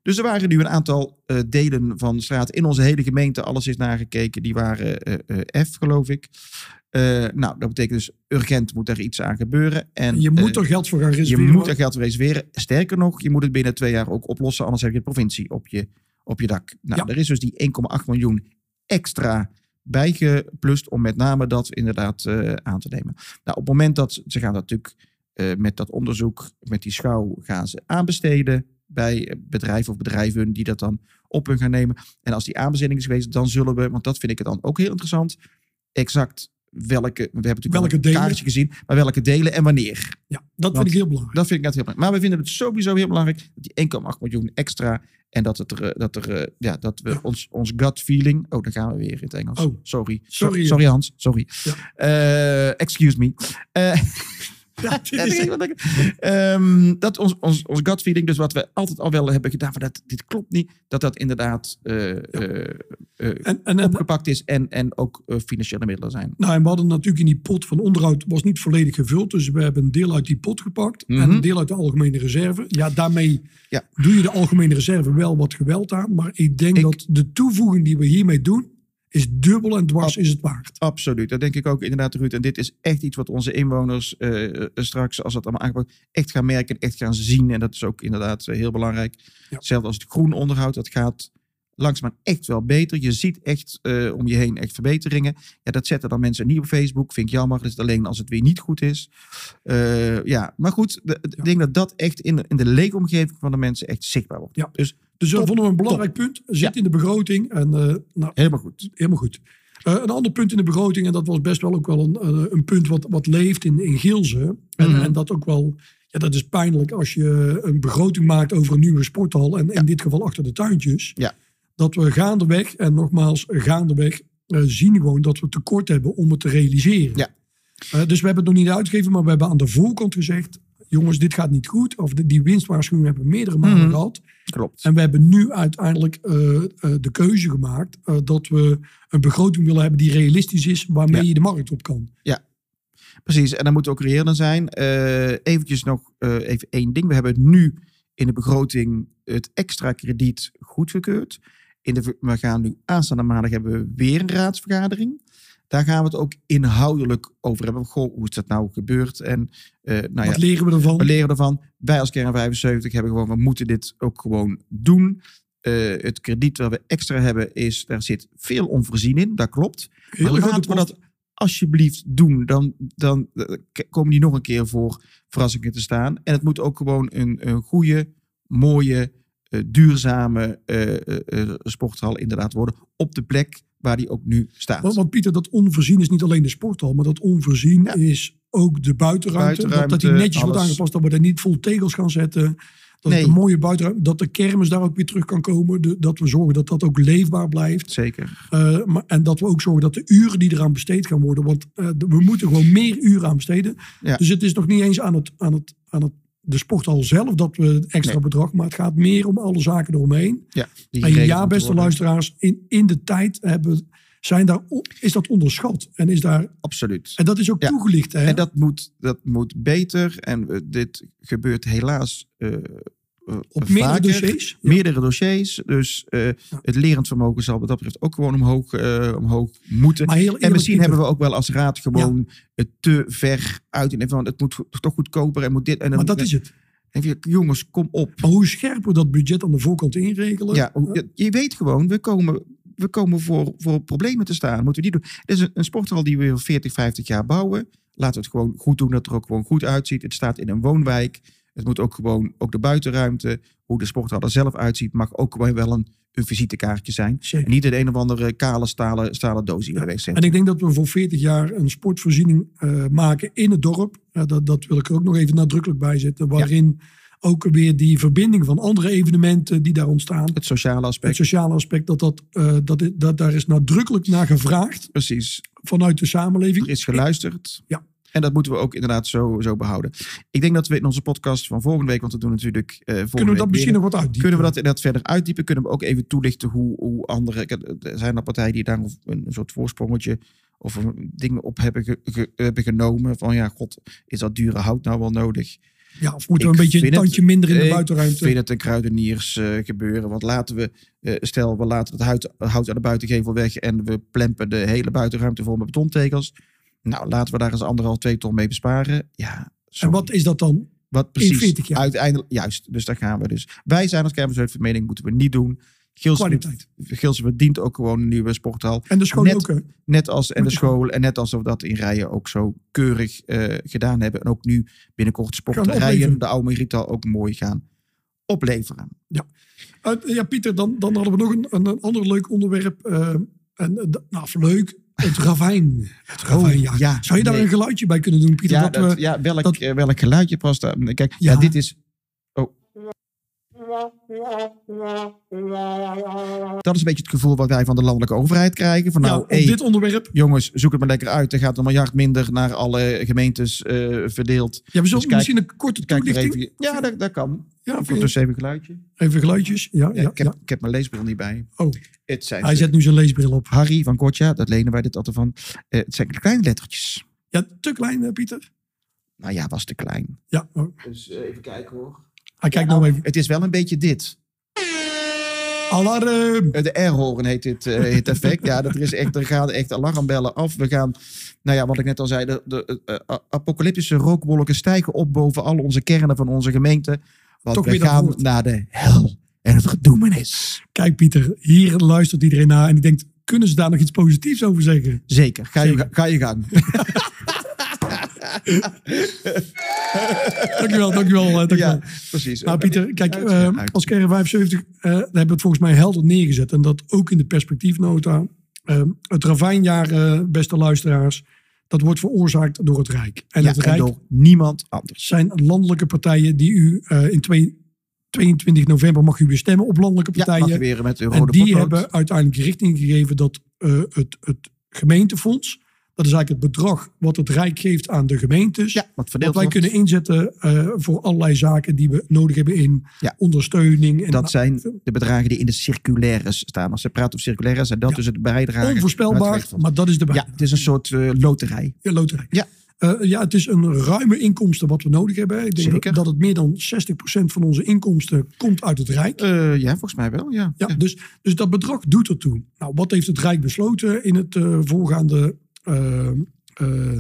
A: Dus er waren nu een aantal eh, delen van de straat in onze hele gemeente. Alles is nagekeken. Die waren eh, eh, F, geloof ik. Eh, nou, dat betekent dus urgent moet daar iets aan gebeuren. En,
B: je
A: eh,
B: moet er geld voor gaan
A: je
B: reserveren.
A: moet er geld voor reserveren. Sterker nog, je moet het binnen twee jaar ook oplossen. Anders heb je de provincie op je, op je dak. Nou,
B: Ja.
A: er is dus die 1,8 miljoen extra bijgeplust om met name dat inderdaad eh, aan te nemen. Nou, op het moment dat ze gaan dat natuurlijk eh, met dat onderzoek, met die schouw gaan ze aanbesteden bij eh, bedrijven of bedrijven die dat dan op hun gaan nemen. En als die aanbesteding is geweest, dan zullen we, want dat vind ik dan ook heel interessant, exact welke, we hebben natuurlijk
B: Welke
A: wel een
B: delen?
A: kaartje gezien, maar welke delen en wanneer.
B: ja, dat
A: Want-
B: vind ik heel belangrijk.
A: Dat vind ik net heel belangrijk. Maar we vinden het sowieso heel belangrijk. Dat die 1,8 miljoen extra. En dat, het er, eh, dat, er, eh, ja, dat we
B: Ja.
A: ons, ons gut feeling. Oh, daar gaan we weer in het Engels.
B: Oh.
A: Sorry.
B: Sorry.
A: sorry, Hans. Sorry.
B: Ja.
A: Eh, excuse me. Eh,
B: Ja, dit
A: ja,
B: is-
A: dat- dat- Ehm, dat ons, ons, ons gut feeling, dus wat we altijd al wel hebben gedaan, van dat dit klopt niet, dat dat inderdaad eh, eh, eh,
B: en, en, en,
A: opgepakt is en, en ook eh, financiële middelen zijn.
B: nou, en we hadden natuurlijk in die pot van onderhoud was niet volledig gevuld. Dus we hebben een deel uit die pot gepakt en
A: Mhm.
B: een deel uit de algemene reserve. Ja, daarmee
A: Ja.
B: doe je de algemene reserve wel wat geweld aan. Maar ik denk
A: Ik-
B: dat de toevoeging die we hiermee doen, is dubbel en dwars is het waard.
A: Absoluut, dat denk ik ook inderdaad, Ruud. En dit is echt iets wat onze inwoners eh, eh, straks, als dat allemaal aangepakt wordt, echt gaan merken, echt gaan zien. En dat is ook inderdaad eh, heel belangrijk. Hetzelfde als het groen onderhoud, dat gaat langzaam echt wel beter. Je ziet echt eh, om je heen echt verbeteringen. Ja, dat zetten dan mensen niet op Facebook. Vind ik jammer, dat is het alleen als het weer niet goed is. Eh, ja, maar goed, de- ik denk dat dat echt in, in de leefomgeving van de mensen echt zichtbaar wordt.
B: Ja.
A: Dus
B: Dus dat
A: Top,
B: vonden we een belangrijk punt. Zit in de begroting en eh, nou,
A: helemaal goed.
B: helemaal goed. Eh, een ander punt in de begroting, en dat was best wel ook wel een, eh, een punt wat, wat leeft in, in Geelze. En,
A: Mhm.
B: en dat ook wel, ja, dat is pijnlijk als je een begroting maakt over een nieuwe sporthal. En in dit geval achter de tuintjes.
A: Ja.
B: Dat we gaandeweg, en nogmaals, gaandeweg eh, zien gewoon dat we tekort hebben om het te realiseren.
A: Ja.
B: Eh, dus we hebben het nog niet uitgegeven, maar we hebben aan de voorkant gezegd. Jongens, dit gaat niet goed. Of de- die winstwaarschuwing hebben we meerdere malen
A: Mhm.
B: gehad.
A: Klopt.
B: En we hebben nu uiteindelijk eh, eh, de keuze gemaakt eh, dat we een begroting willen hebben die realistisch is, waarmee
A: Ja. Nou
B: je de markt op kan.
A: Precies, en dan moet ook reëel in zijn. Eh eventjes nog eh, even één ding. We hebben nu in de begroting het extra krediet goedgekeurd. In de, ver- we gaan nu aanstaande maandag hebben we weer een raadsvergadering. Daar gaan we het ook inhoudelijk over hebben. Goh, hoe is dat nou gebeurd? En eh, nou ja,
B: Wat leren we ervan?
A: we leren ervan. Wij als Kern 75 hebben gewoon, we moeten dit ook gewoon doen. Eh, het krediet wat we extra hebben is, daar zit veel onvoorzien in, dat klopt.
B: Heel
A: Maar
B: grote
A: laten we
B: kosten.
A: dat alsjeblieft doen. Dan, dan eh, k- komen die nog een keer voor verrassingen te staan. En het moet ook gewoon een, een goede, mooie, eh, duurzame eh, eh, eh, sporthal inderdaad worden. Op de plek waar die ook nu staat.
B: Oh, Want, want Pieter, dat onvoorzien is niet alleen de sporthal, maar dat onvoorzien
A: Ja.
B: is ook de buitenruimte. dat, dat die
A: Buitenruimte,
B: netjes wordt
A: alles.
B: aangepast, dat we daar niet vol tegels gaan zetten. Dat
A: Nee.
B: het een mooie buitenruimte, dat de kermis daar ook weer terug kan komen. De- dat we zorgen dat dat ook leefbaar blijft.
A: Zeker.
B: Eh, maar, en dat we ook zorgen dat de uren die eraan besteed gaan worden. Want eh, d- we moeten gewoon meer uren aan besteden.
A: Ja.
B: Dus het is nog niet eens aan, het, aan, het, aan het, de sporthal zelf dat we het extra
A: Nee.
B: bedrag. Maar het gaat meer om alle zaken eromheen.
A: Ja, die
B: En
A: geregeld
B: Ah, ja,
A: moeten
B: beste
A: worden.
B: luisteraars, in, in de tijd hebben, zijn daar, o- is dat onderschat. En, is daar,
A: Absoluut.
B: en dat is ook
A: Ja.
B: toegelicht. Hè?
A: En dat moet, dat moet beter. En eh, dit gebeurt helaas eh, eh,
B: Op meerdere
A: vaker.
B: dossiers. Ja.
A: Meerdere dossiers. Dus eh, het lerend vermogen zal wat dat betreft ook gewoon omhoog, eh, omhoog moeten.
B: Maar heel
A: En
B: eerlijk,
A: misschien
B: Pieter,
A: hebben we ook wel als raad gewoon het te ver uit. En van, het moet toch goedkoper en moet dit. En dan,
B: Maar dat is het.
A: denk je, jongens, kom op.
B: Maar hoe scherper we dat budget aan de voorkant inregelen. eh,
A: Ja, hoe- je- je weet gewoon, we komen, we komen voor, voor problemen te staan. Moeten we die doen? Dit is een, een sporthal die we weer 40, 50 jaar bouwen. Laten we het gewoon goed doen, dat het er ook gewoon goed uitziet. Het staat in een woonwijk. Het moet ook gewoon, ook de buitenruimte, hoe de sporthal er zelf uitziet, mag ook gewoon wel een, een visitekaartje zijn.
B: Zeker.
A: En niet een, een of andere kale stalen, stalen doos die we
B: Ja.
A: weg
B: En ik denk dat we voor 40 jaar een sportvoorziening eh, maken in het dorp. Eh, dat, dat wil ik er ook nog even nadrukkelijk bij zetten. Waarin ook weer die verbinding van andere evenementen die daar ontstaan.
A: Het sociale
B: Het
A: aspect,
B: sociale aspect, dat, dat, eh, dat, dat daar is nadrukkelijk naar gevraagd
A: precies.
B: vanuit de samenleving.
A: Er is geluisterd. En dat moeten we ook inderdaad zo, zo behouden. Ik denk dat we in onze podcast van volgende week, want we doen natuurlijk eh volgende
B: Kunnen we
A: week
B: dat misschien
A: weer-
B: nog wat uitdiepen?
A: Kunnen we dat inderdaad verder uitdiepen? Kunnen we ook even toelichten hoe, hoe andere... kijk, Er zijn er partijen die daar een, een soort voorsprongetje of een ding op hebben, ge- ge- hebben genomen. Van ja, god, is dat dure hout nou wel nodig?
B: Ja, of moeten we
A: Ik
B: een beetje een
A: vind het-
B: tandje minder in de
A: Ik vind
B: buitenruimte?
A: het een kruideniers eh, gebeuren. Want laten we, eh, stel we laten het hout, hout aan de buitengevel weg en we plempen de hele buitenruimte vol met betontegels. Nou, laten we daar eens anderhalf, twee ton mee besparen. Ja,
B: En
A: sorry.
B: wat is dat dan?
A: Wat precies?
B: 40 jaar.
A: Uiteindelijk, juist. Dus daar gaan we dus. Wij zijn als Kermis van mening, moeten we niet doen. Gilsen,
B: Kwaliteit.
A: Gilsen verdient ook gewoon een nieuwe sporthal.
B: En de school
A: Net-
B: ook. hè?
A: Net als en de
B: Moet je
A: school en net alsof we dat in rijen ook zo keurig eh, gedaan hebben. En ook nu binnenkort sportrijen,
B: opleveren.
A: de oude Merital ook mooi gaan opleveren.
B: Uit- ja, Pieter, dan, dan hadden we nog een, een, een ander leuk onderwerp. eh, en, eh, d- nou, of leuk. Het ravijn. Het ravijn, ja.
A: Oh, ja,
B: Zou je daar
A: nee.
B: een geluidje bij kunnen doen, Pieter?
A: Ja,
B: dat,
A: dat,
B: we,
A: ja welk,
B: dat-
A: eh, welk geluidje past daar? Kijk, ja.
B: Ja.
A: dit is... Oh. Dat is een beetje het gevoel wat wij van de landelijke overheid krijgen. Van
B: ja,
A: nou,
B: op
A: hey,
B: dit onderwerp.
A: jongens, zoek het maar lekker uit. Er gaat een miljard minder naar alle gemeentes eh, verdeeld.
B: Ja, we zullen
A: Dus kijk-
B: misschien een korte
A: Kijk er
B: toelichting.
A: even... Ja, dat, dat kan.
B: Ja,
A: Ik
B: vind
A: heb
B: je-
A: dus even een geluidje.
B: even geluidjes. Ja, ja,
A: Ja, ik, heb,
B: ja.
A: ik heb mijn leesbril niet bij.
B: Oh,
A: Het zijn
B: hij zet nu zijn leesbril op.
A: Harry van Gotja, dat lenen wij dit altijd van. Eh, het zijn kleine lettertjes.
B: Ja, te klein, eh, Pieter.
A: Nou ja, was te klein.
B: Ja, oh,
A: Dus even kijken hoor.
B: hij kijkt nou even.
A: Het is wel een beetje dit.
B: Alarm!
A: Eh, De R-horen heet dit eh, het effect. ja, dat er, is echt, er gaan echt alarmbellen af. We gaan, nou ja, wat ik net al zei, de, de eh, eh, apocalyptische rookwolken stijgen op boven al onze kernen van onze gemeente. Want
B: Toch
A: we
B: weer dat
A: gaan
B: woord.
A: naar de hel en het gedoemenis.
B: Kijk, Pieter, hier luistert iedereen naar en die denkt: kunnen ze daar nog iets positiefs over zeggen?
A: Zeker, ga, Je,
B: Zeker.
A: ga je gang.
B: Dankjewel, dankjewel. eh, dankjewel.
A: ja, precies.
B: Nou, Pieter, kijk,
A: Uit,
B: eh,
A: uit.
B: als Kern 75 eh, daar hebben we het volgens mij helder neergezet. En dat ook in de perspectiefnota. Eh, het ravijnjaar, eh, beste luisteraars, dat wordt veroorzaakt door het Rijk. En
A: Ja,
B: het
A: en
B: Rijk
A: door niemand anders.
B: zijn landelijke partijen die u eh, in twee- 22 november mag u weer stemmen op landelijke
A: Ja, mag je
B: partijen.
A: weer met de
B: en
A: rode
B: die
A: potlood.
B: hebben uiteindelijk richting gegeven dat eh, het, het gemeentefonds, dat is eigenlijk het bedrag wat het Rijk geeft aan de gemeentes.
A: Ja, wat
B: Dat
A: verdeeld
B: wij
A: wordt.
B: kunnen inzetten eh, voor allerlei zaken die we nodig hebben in
A: Ja.
B: ondersteuning. En
A: Dat zijn de bedragen die in de circulaires staan. Als ze praten over circulaires, zijn dat
B: Ja.
A: dus het bijdragen. naar
B: onvoorspelbaar,
A: het werkveld.
B: maar dat is de
A: Ja, het is een soort eh, loterij.
B: ja. loterij.
A: Ja.
B: Eh, ja, het is een ruime inkomsten wat we nodig hebben. Ik denk
A: Zeker.
B: dat het meer dan 60% van onze inkomsten komt uit het Rijk.
A: Eh, ja, volgens mij wel. Ja.
B: Ja, dus, dus dat bedrag doet ertoe. Nou, wat heeft het Rijk besloten in het eh, voorgaande. eh, eh,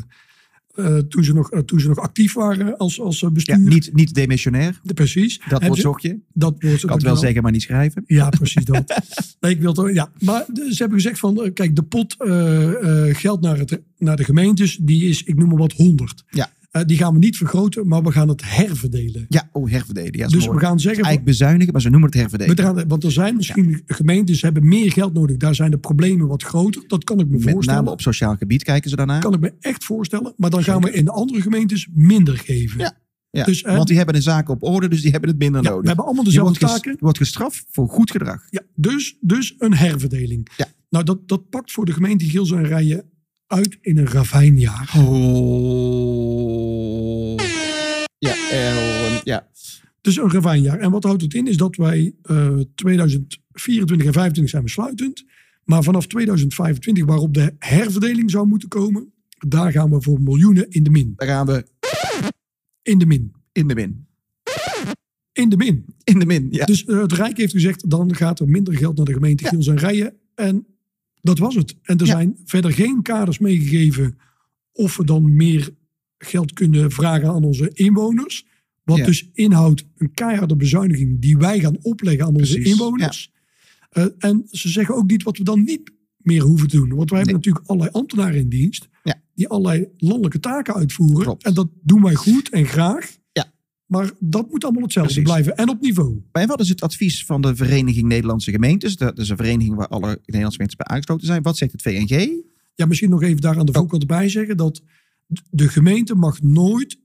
B: eh, toen, ze nog, eh, toen ze nog actief waren als, als eh,
A: Ja,
B: bestuur.
A: niet, niet demissionair.
B: Precies.
A: Dat
B: Hebben
A: wordt
B: ze-
A: zochtje. Ik
B: Dat wordt
A: kan het wel zeggen, maar niet schrijven.
B: Ja, precies dat. nee, ik wil het, ook- ja. Maar de- ze hebben gezegd van, eh, kijk, de pot eh, eh, geld naar, het, naar de gemeentes, die is, ik noem maar wat, 100.
A: Ja.
B: Eh, die gaan we niet vergroten, maar we gaan het herverdelen.
A: Ja, oh, herverdelen. Ja, is
B: dus
A: mooi.
B: we gaan zeggen, van,
A: Eigenlijk bezuinigen, maar ze noemen het herverdelen.
B: we gaan- want er zijn misschien gemeentes die hebben meer geld nodig. Daar zijn de problemen wat groter. Dat kan ik me
A: Met
B: voorstellen.
A: name op sociaal gebied kijken ze daarna.
B: kan ik me echt voorstellen. Maar dan gaan we in de andere gemeentes minder geven.
A: Ja, Ja,
B: dus, eh,
A: want die hebben de zaken op orde, dus die hebben het minder
B: Ja, we
A: nodig.
B: hebben allemaal
A: je
B: dezelfde
A: wordt, ges-
B: taken.
A: wordt gestraft voor goed gedrag.
B: Ja, dus, dus een herverdeling.
A: Ja.
B: Nou, dat, dat pakt voor de gemeente Gilsen en Rijen uit in een ravijnjaar.
A: Oh. Ja, eh, ja,
B: Dus een ravijnjaar. En wat houdt het in is dat wij eh 2024 en 25 zijn besluitend. Maar vanaf 2025, waarop de herverdeling zou moeten komen, daar gaan we voor miljoenen in de min.
A: daar gaan we
B: In de min.
A: in de min.
B: In de min.
A: In de min, ja.
B: Dus eh, het Rijk heeft gezegd, dan gaat er minder geld naar de gemeente
A: Ja.
B: Giels en Rijen. En dat was het. En er
A: Ja.
B: zijn verder geen kaders meegegeven of we dan meer geld kunnen vragen aan onze inwoners. Wat
A: Ja.
B: dus inhoudt een keiharde bezuiniging die wij gaan opleggen aan onze
A: Precies,
B: inwoners. Eh, en ze zeggen ook niet wat we dan niet meer hoeven te doen. Want wij hebben
A: Nee.
B: natuurlijk allerlei ambtenaren in dienst.
A: Ja.
B: Die allerlei landelijke taken uitvoeren.
A: Klopt.
B: En dat doen wij goed en graag.
A: Ja.
B: Maar dat moet allemaal hetzelfde
A: Precies.
B: blijven. En op niveau.
A: Wij hadden dus het advies van de Vereniging Nederlandse Gemeentes. Dat is een vereniging waar alle Nederlandse gemeentes bij aangesloten zijn. Wat zegt het VNG?
B: Ja, misschien nog even daar aan
A: Oh.
B: de voorkant bij zeggen dat de gemeente mag nooit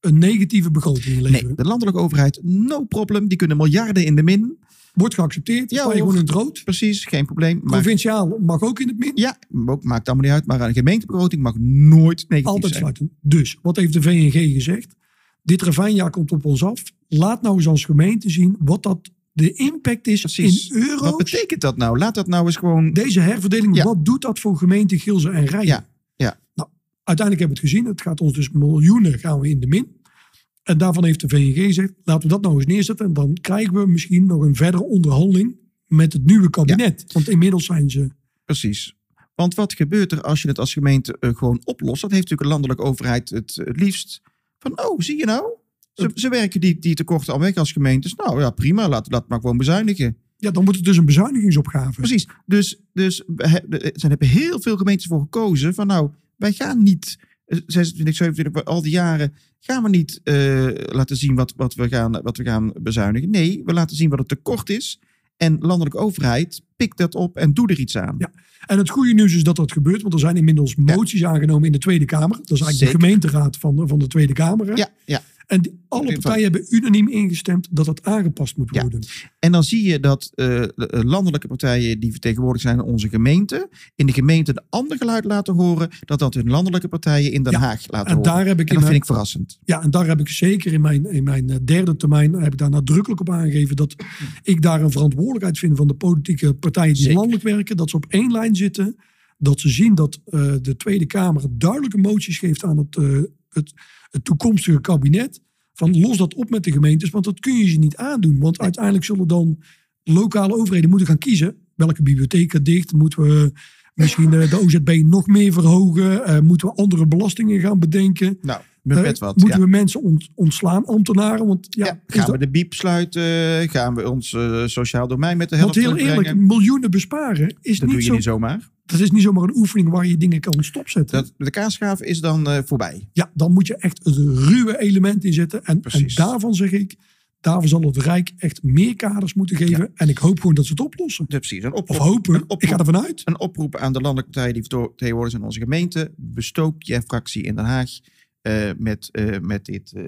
B: een negatieve begroting
A: Nee,
B: leveren.
A: de landelijke overheid, no problem. Die kunnen miljarden in de min.
B: Wordt geaccepteerd.
A: Ja,
B: Ja, je
A: hoor.
B: gewoon in het rood.
A: Precies, geen probleem. Maar
B: Provinciaal mag ook in het min.
A: ja, ook, maakt allemaal niet uit. Maar aan de gemeentebegroting mag nooit negatief
B: Altijd
A: zijn.
B: sluiten. Dus, wat heeft de VNG gezegd? Dit ravijnjaar komt op ons af. Laat nou eens als gemeente zien wat dat de impact is
A: Precies.
B: in euro's.
A: Wat betekent dat nou? Laat dat nou eens gewoon...
B: Deze herverdeling,
A: Ja.
B: wat doet dat voor gemeente Gilze en Rijn?
A: Ja, ja.
B: Nou, uiteindelijk hebben we het gezien. Het gaat ons dus miljoenen gaan we in de min. En daarvan heeft de VNG gezegd, laten we dat nou eens neerzetten. En dan krijgen we misschien nog een verdere onderhandeling met het nieuwe kabinet. Want inmiddels zijn ze...
A: Precies. Want wat gebeurt er als je het als gemeente eh, gewoon oplost? Dat heeft natuurlijk de landelijke overheid het, eh, liefst. Van, oh, zie je nou? Ze, ze werken die, die tekorten al weg als gemeentes. Nou ja, prima, laten we dat maar gewoon bezuinigen.
B: Ja, dan wordt het dus een bezuinigingsopgave.
A: Precies. Dus, dus we he- de- er hebben heel veel gemeentes voor gekozen van nou, wij gaan niet eh, 26, 27, al die jaren gaan we niet eh, laten zien wat, wat, we gaan, wat we gaan bezuinigen. Nee, we laten zien wat het tekort is. En landelijke overheid pikt dat op en doe er iets aan.
B: Ja, En het goede nieuws is dat dat gebeurt, want er zijn inmiddels moties aangenomen in de Tweede Kamer. Dat is eigenlijk
A: Zeker.
B: de gemeenteraad van de, van de Tweede Kamer. hè?
A: ja, ja.
B: En die- alle
A: Ieder geval.
B: partijen hebben unaniem ingestemd dat dat aangepast moet
A: Ja.
B: worden.
A: En dan zie je dat eh, de, eh, landelijke partijen die vertegenwoordigd zijn in onze gemeente, in de gemeente een ander geluid laten horen, dat dat hun landelijke partijen in Den
B: Ja,
A: Haag laten
B: En
A: horen.
B: daar,
A: en
B: heb ik in
A: dat
B: mijn,
A: vind ik verrassend.
B: ja, en daar heb ik zeker in mijn, in mijn eh, derde termijn heb ik daar nadrukkelijk op aangegeven dat ik daar een verantwoordelijkheid vind van de politieke partijen die
A: Zeker.
B: landelijk werken. Dat ze op één lijn zitten. Dat ze zien dat eh, de Tweede Kamer duidelijke moties geeft aan het, eh, het, het toekomstige kabinet. Van los dat op met de gemeentes, want dat kun je ze niet aandoen. Want uiteindelijk zullen dan lokale overheden moeten gaan kiezen. Welke bibliotheken dicht? Moeten we misschien eh, de OZB nog meer verhogen? Eh, moeten we andere belastingen gaan bedenken?
A: Nou, mijn
B: Eh,
A: pet wat.
B: Moeten
A: ja.
B: we mensen ont- ontslaan, ambtenaren? Want ja,
A: Ja,
B: is
A: gaan
B: dat-
A: we de biep sluiten? Gaan we ons eh, sociaal domein met de helft
B: want heel
A: terugbrengen?
B: eerlijk, miljoenen besparen is
A: dat doe
B: niet
A: je
B: zo.
A: niet zomaar.
B: Dat is niet zomaar een oefening waar je dingen kan stopzetten.
A: Dat, de kaasschaaf is dan eh, voorbij.
B: Ja, dan moet je echt het ruwe element inzetten. En, en
A: Precies.
B: daarvan zeg ik, daarvan zal het Rijk echt meer kaders moeten geven. En ik hoop gewoon dat ze het oplossen.
A: Dat precies. Een
B: Of
A: oproep,
B: hopen.
A: op-
B: ik ga ervan uit.
A: een oproep aan de landelijke partijen die verto- vertegenwoordigd zijn in onze gemeente. Bestook je fractie in Den Haag eh, met, eh, met, dit, eh,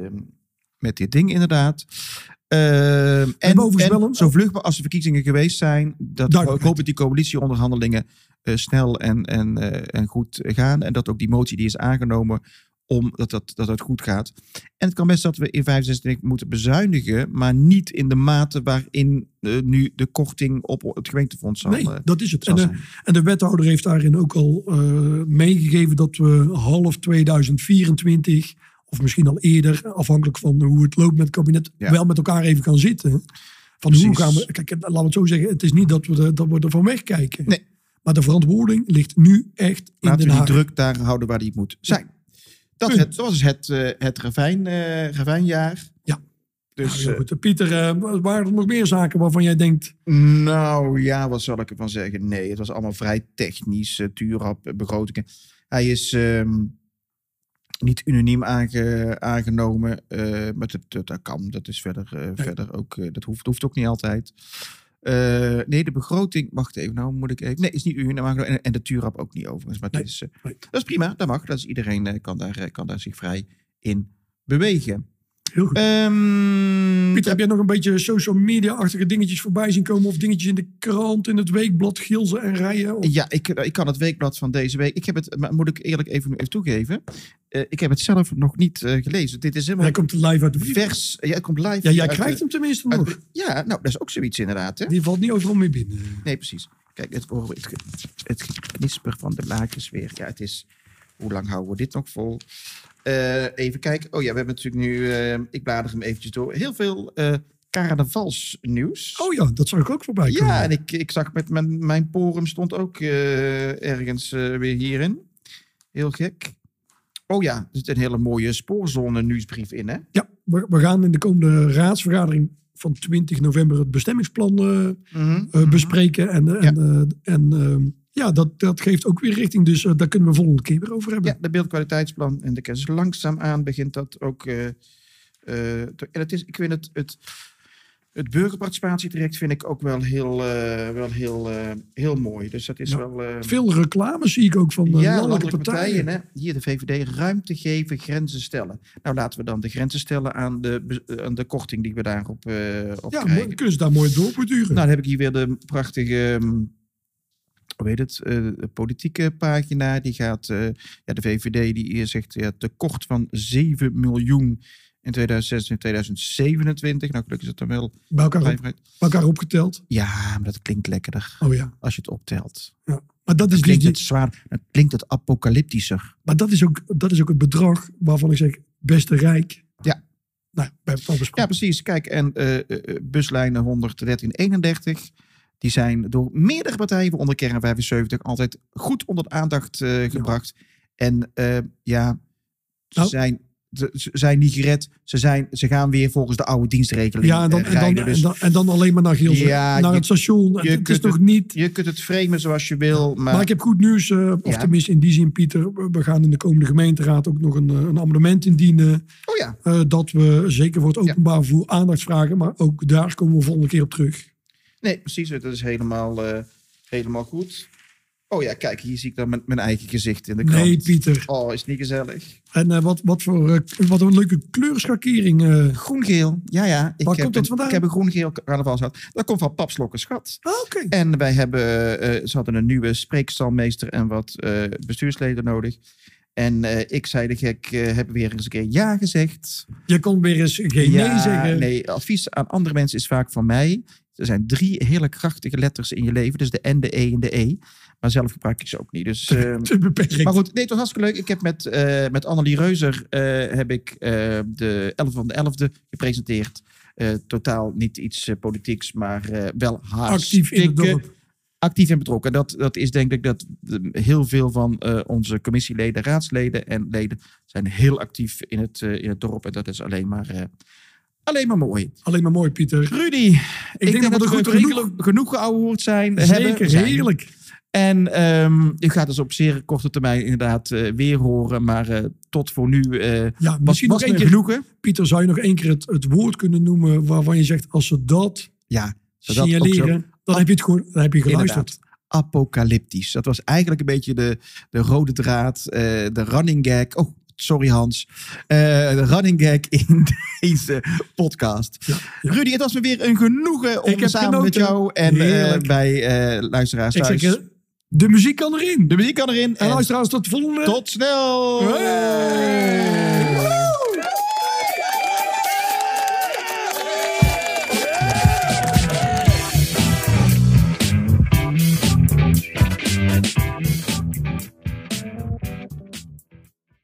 A: met dit ding inderdaad. Eh, en
B: hebben overigens wel
A: en
B: een-
A: zo vlug maar als de verkiezingen geweest zijn. Dat ik
B: Duidelijkheid.
A: hoop dat die coalitieonderhandelingen eh, snel en, en, eh, en goed gaan. En dat ook die motie die is aangenomen, om dat, dat, dat het goed gaat. En het kan best dat we in 65 moeten bezuinigen, maar niet in de mate waarin eh, nu de korting op het gemeentefonds zal,
B: Nee,
A: eh,
B: dat is het.
A: zal
B: En, eh,
A: zijn.
B: en de wethouder heeft daarin ook al eh, meegegeven dat we half 2024, of misschien al eerder, afhankelijk van hoe het loopt met het kabinet,
A: Ja.
B: wel met elkaar even gaan zitten. Van hoe
A: Precies.
B: gaan we. Kijk, laten we het zo zeggen, het is niet dat we, de- dat we er van wegkijken.
A: Nee.
B: Maar de verantwoording ligt nu echt in
A: Laten
B: Den
A: we die
B: Haag.
A: druk daar houden waar die moet zijn. Dat,
B: Punt.
A: het, dat was het, eh, het ravijn, eh, ravijnjaar.
B: Ja.
A: Dus,
B: Nou,
A: eh,
B: ja, goed. Pieter, eh, waren er nog meer zaken waarvan jij denkt,
A: nou ja, wat zal ik ervan zeggen? Nee, het was allemaal vrij technisch. eh, Tuurap, eh, begrotingen. Hij is ehm, niet unaniem aange- aangenomen. eh, maar dat, dat, dat kan. Dat is verder, eh, verder ook. eh, dat hoeft, hoeft ook niet altijd. Eh, nee, de begroting. Wacht even, nou moet ik even. Nee, is niet unaniem aangenomen. En, en de Tuurap ook niet overigens. Maar
B: Nee,
A: het is, eh,
B: nee.
A: dat is prima. Dat mag. Dat is, iedereen eh, kan, daar, eh, kan daar zich vrij in bewegen.
B: heel goed.
A: Ehm,
B: Pieter, heb jij nog een beetje social media-achtige dingetjes voorbij zien komen? Of dingetjes in de krant, in het weekblad, gilzen en rijen? Of-
A: Ja, ik, eh, ik kan het weekblad van deze week. Ik heb het, maar moet ik eerlijk even, even toegeven. eh, ik heb het zelf nog niet eh, gelezen. Dit is helemaal
B: Hij komt live uit de brief.
A: vers. Ja, het komt live.
B: Ja, jij
A: uit de-
B: krijgt hem tenminste
A: uit
B: nog.
A: de- ja, nou, dat is ook zoiets inderdaad. Hè?
B: Die valt niet overal mee binnen.
A: Nee, precies. Kijk, het, oh, het, het knisper van de blaadjes weer. Ja, het is. Hoe lang houden we dit nog vol? Eh, even kijken. Oh ja, we hebben natuurlijk nu. eh, ik blader hem eventjes door. Heel veel eh carnavalsnieuws.
B: Oh ja, dat zag ik ook voorbij komen.
A: Ja, en ik, ik zag met mijn, mijn porum stond ook eh, ergens eh, weer hierin. Heel gek. Oh ja, er zit een hele mooie spoorzone nieuwsbrief in, hè?
B: Ja, we, we gaan in de komende raadsvergadering van 20 november het bestemmingsplan eh, eh,
A: Mhm.
B: bespreken. En, eh, en, eh, en ehm, ja, dat, dat geeft ook weer richting. Dus eh, daar kunnen we volgende keer weer over hebben.
A: Ja, de beeldkwaliteitsplan en de kennis. Langzaamaan begint dat ook. eh, eh, te- en het is, ik vind het, het Het burgerparticipatietraject vind ik ook wel heel, eh, wel heel, eh, heel mooi. Dus dat is
B: Ja.
A: wel... eh,
B: Veel reclame zie ik ook van de
A: ja,
B: landelijke
A: landelijke
B: partijen.
A: partijen. hè. Hier de VVD ruimte geven, grenzen stellen. Nou, laten we dan de grenzen stellen aan de, bez- eh, aan de korting die we daarop eh op
B: Ja, maar
A: krijgen.
B: dan kunnen ze daar mooi doorborduren.
A: Nou, dan heb ik hier weer de prachtige, ehm, hoe heet het, eh, politieke pagina. Die gaat, eh, ja, de VVD die hier zegt ja, tekort van 7 miljoen in 2026 en 2027. Nou, gelukkig is dat dan wel.
B: bij, elkaar op- bij
A: vrijheid.
B: elkaar opgeteld.
A: Ja, maar dat klinkt lekkerder
B: Oh ja.
A: als je het optelt.
B: Maar dat is,
A: Dan klinkt
B: die,
A: het zwaar, dan klinkt het apocalyptischer.
B: maar dat is, ook, dat is ook het bedrag waarvan ik zeg, beste Rijk.
A: Ja.
B: Nou, bij van
A: Ja,
B: besproken.
A: precies. Kijk, en eh, eh, eh, buslijnen 113, 31. Die zijn door meerdere partijen, onder Kern 75, altijd goed onder de aandacht eh, gebracht. En eh, ja, ze,
B: Nou.
A: zijn, ze, ze zijn niet gered. Ze, zijn, ze gaan weer volgens de oude dienstregeling
B: Ja, en dan,
A: eh,
B: en, dan,
A: rijden. Dus
B: en, dan, en dan alleen maar naar Gielsen.
A: Ja,
B: naar
A: je-
B: het station. Het-
A: je
B: het is
A: kunt
B: nog niet...
A: je kunt het framen zoals je wil, maar,
B: Maar ik heb goed nieuws, eh, of
A: Ja.
B: tenminste in die zin, Pieter. We- We gaan in de komende gemeenteraad ook nog een, eh, een amendement indienen.
A: oh ja,
B: eh, dat we zeker voor het
A: Ja.
B: openbaar vervoer aandacht vragen. Maar ook daar komen we volgende keer op terug.
A: nee, precies. Dat is helemaal, eh, helemaal goed. Oh ja, kijk, hier zie ik dan mijn, mijn eigen gezicht in de krant.
B: Nee, Pieter.
A: Oh, is het niet gezellig?
B: En eh, wat, wat, voor, eh, wat een leuke kleurschakering. eh.
A: Groen-geel, ja, ja. Ik
B: Waar
A: heb
B: komt dat
A: een-
B: vandaan?
A: Ik heb een groen-geel carnavalshat. Dat komt van Papslokkenschat.
B: Ah, oké.
A: En wij hebben, eh, ze hadden een nieuwe spreekstalmeester en wat eh, bestuursleden nodig. En eh, ik zei de gek, eh, heb weer eens een keer ja gezegd.
B: Je kon weer eens geen
A: ja,
B: nee zeggen.
A: Nee, advies aan andere mensen is vaak van mij. Er zijn drie hele krachtige letters in je leven. Dus de N, de E en de E. Maar zelf gebruik ik ze ook niet. Dus, eh,
B: Te beperkt.
A: maar goed, nee, het was hartstikke leuk. Ik heb met, eh met Annelie Reuzer eh, heb ik, eh, de 11 van de 11e gepresenteerd. Eh, totaal niet iets eh, politieks, maar eh, wel
B: Actief in het
A: hartstikke
B: dorp.
A: actief en betrokken. Dat, dat is denk ik dat de- heel veel van eh, onze commissieleden, raadsleden en leden zijn heel actief in het, eh, in het dorp. En dat is alleen maar, eh, alleen maar mooi.
B: Alleen maar mooi, Pieter. Ik,
A: Rudy, ik,
B: denk, dat we er goed doorheen
A: genoeg, genoeg geouwehoerd zijn.
B: komen.
A: hebben,
B: Zeker,
A: zijn.
B: heerlijk.
A: En ehm, u gaat dus op zeer korte termijn inderdaad eh, weer horen. Maar eh, tot voor nu eh,
B: Ja,
A: was,
B: misschien
A: was
B: nog één
A: een
B: keer.
A: genoegen.
B: Pieter, zou je nog één keer het, het woord kunnen noemen waarvan je zegt, als ze dat
A: Ja, zodat ook zo-
B: signaleren, dan heb je het gehoord, dan heb je geluisterd.
A: apocalyptisch. Dat was eigenlijk een beetje de, de rode draad, eh, de running gag. Oh, sorry Hans. Eh, de running gag in deze podcast.
B: Ja, ja.
A: Rudy, het was me weer een genoegen om
B: Ik heb
A: samen met
B: genoten.
A: jou en eh,
B: Heerlijk.
A: bij eh, luisteraars
B: Ik
A: thuis.
B: zeg, eh, de muziek kan erin.
A: de muziek kan erin.
B: En
A: En
B: luisteraars, tot de volgende.
A: tot snel!
B: Hey!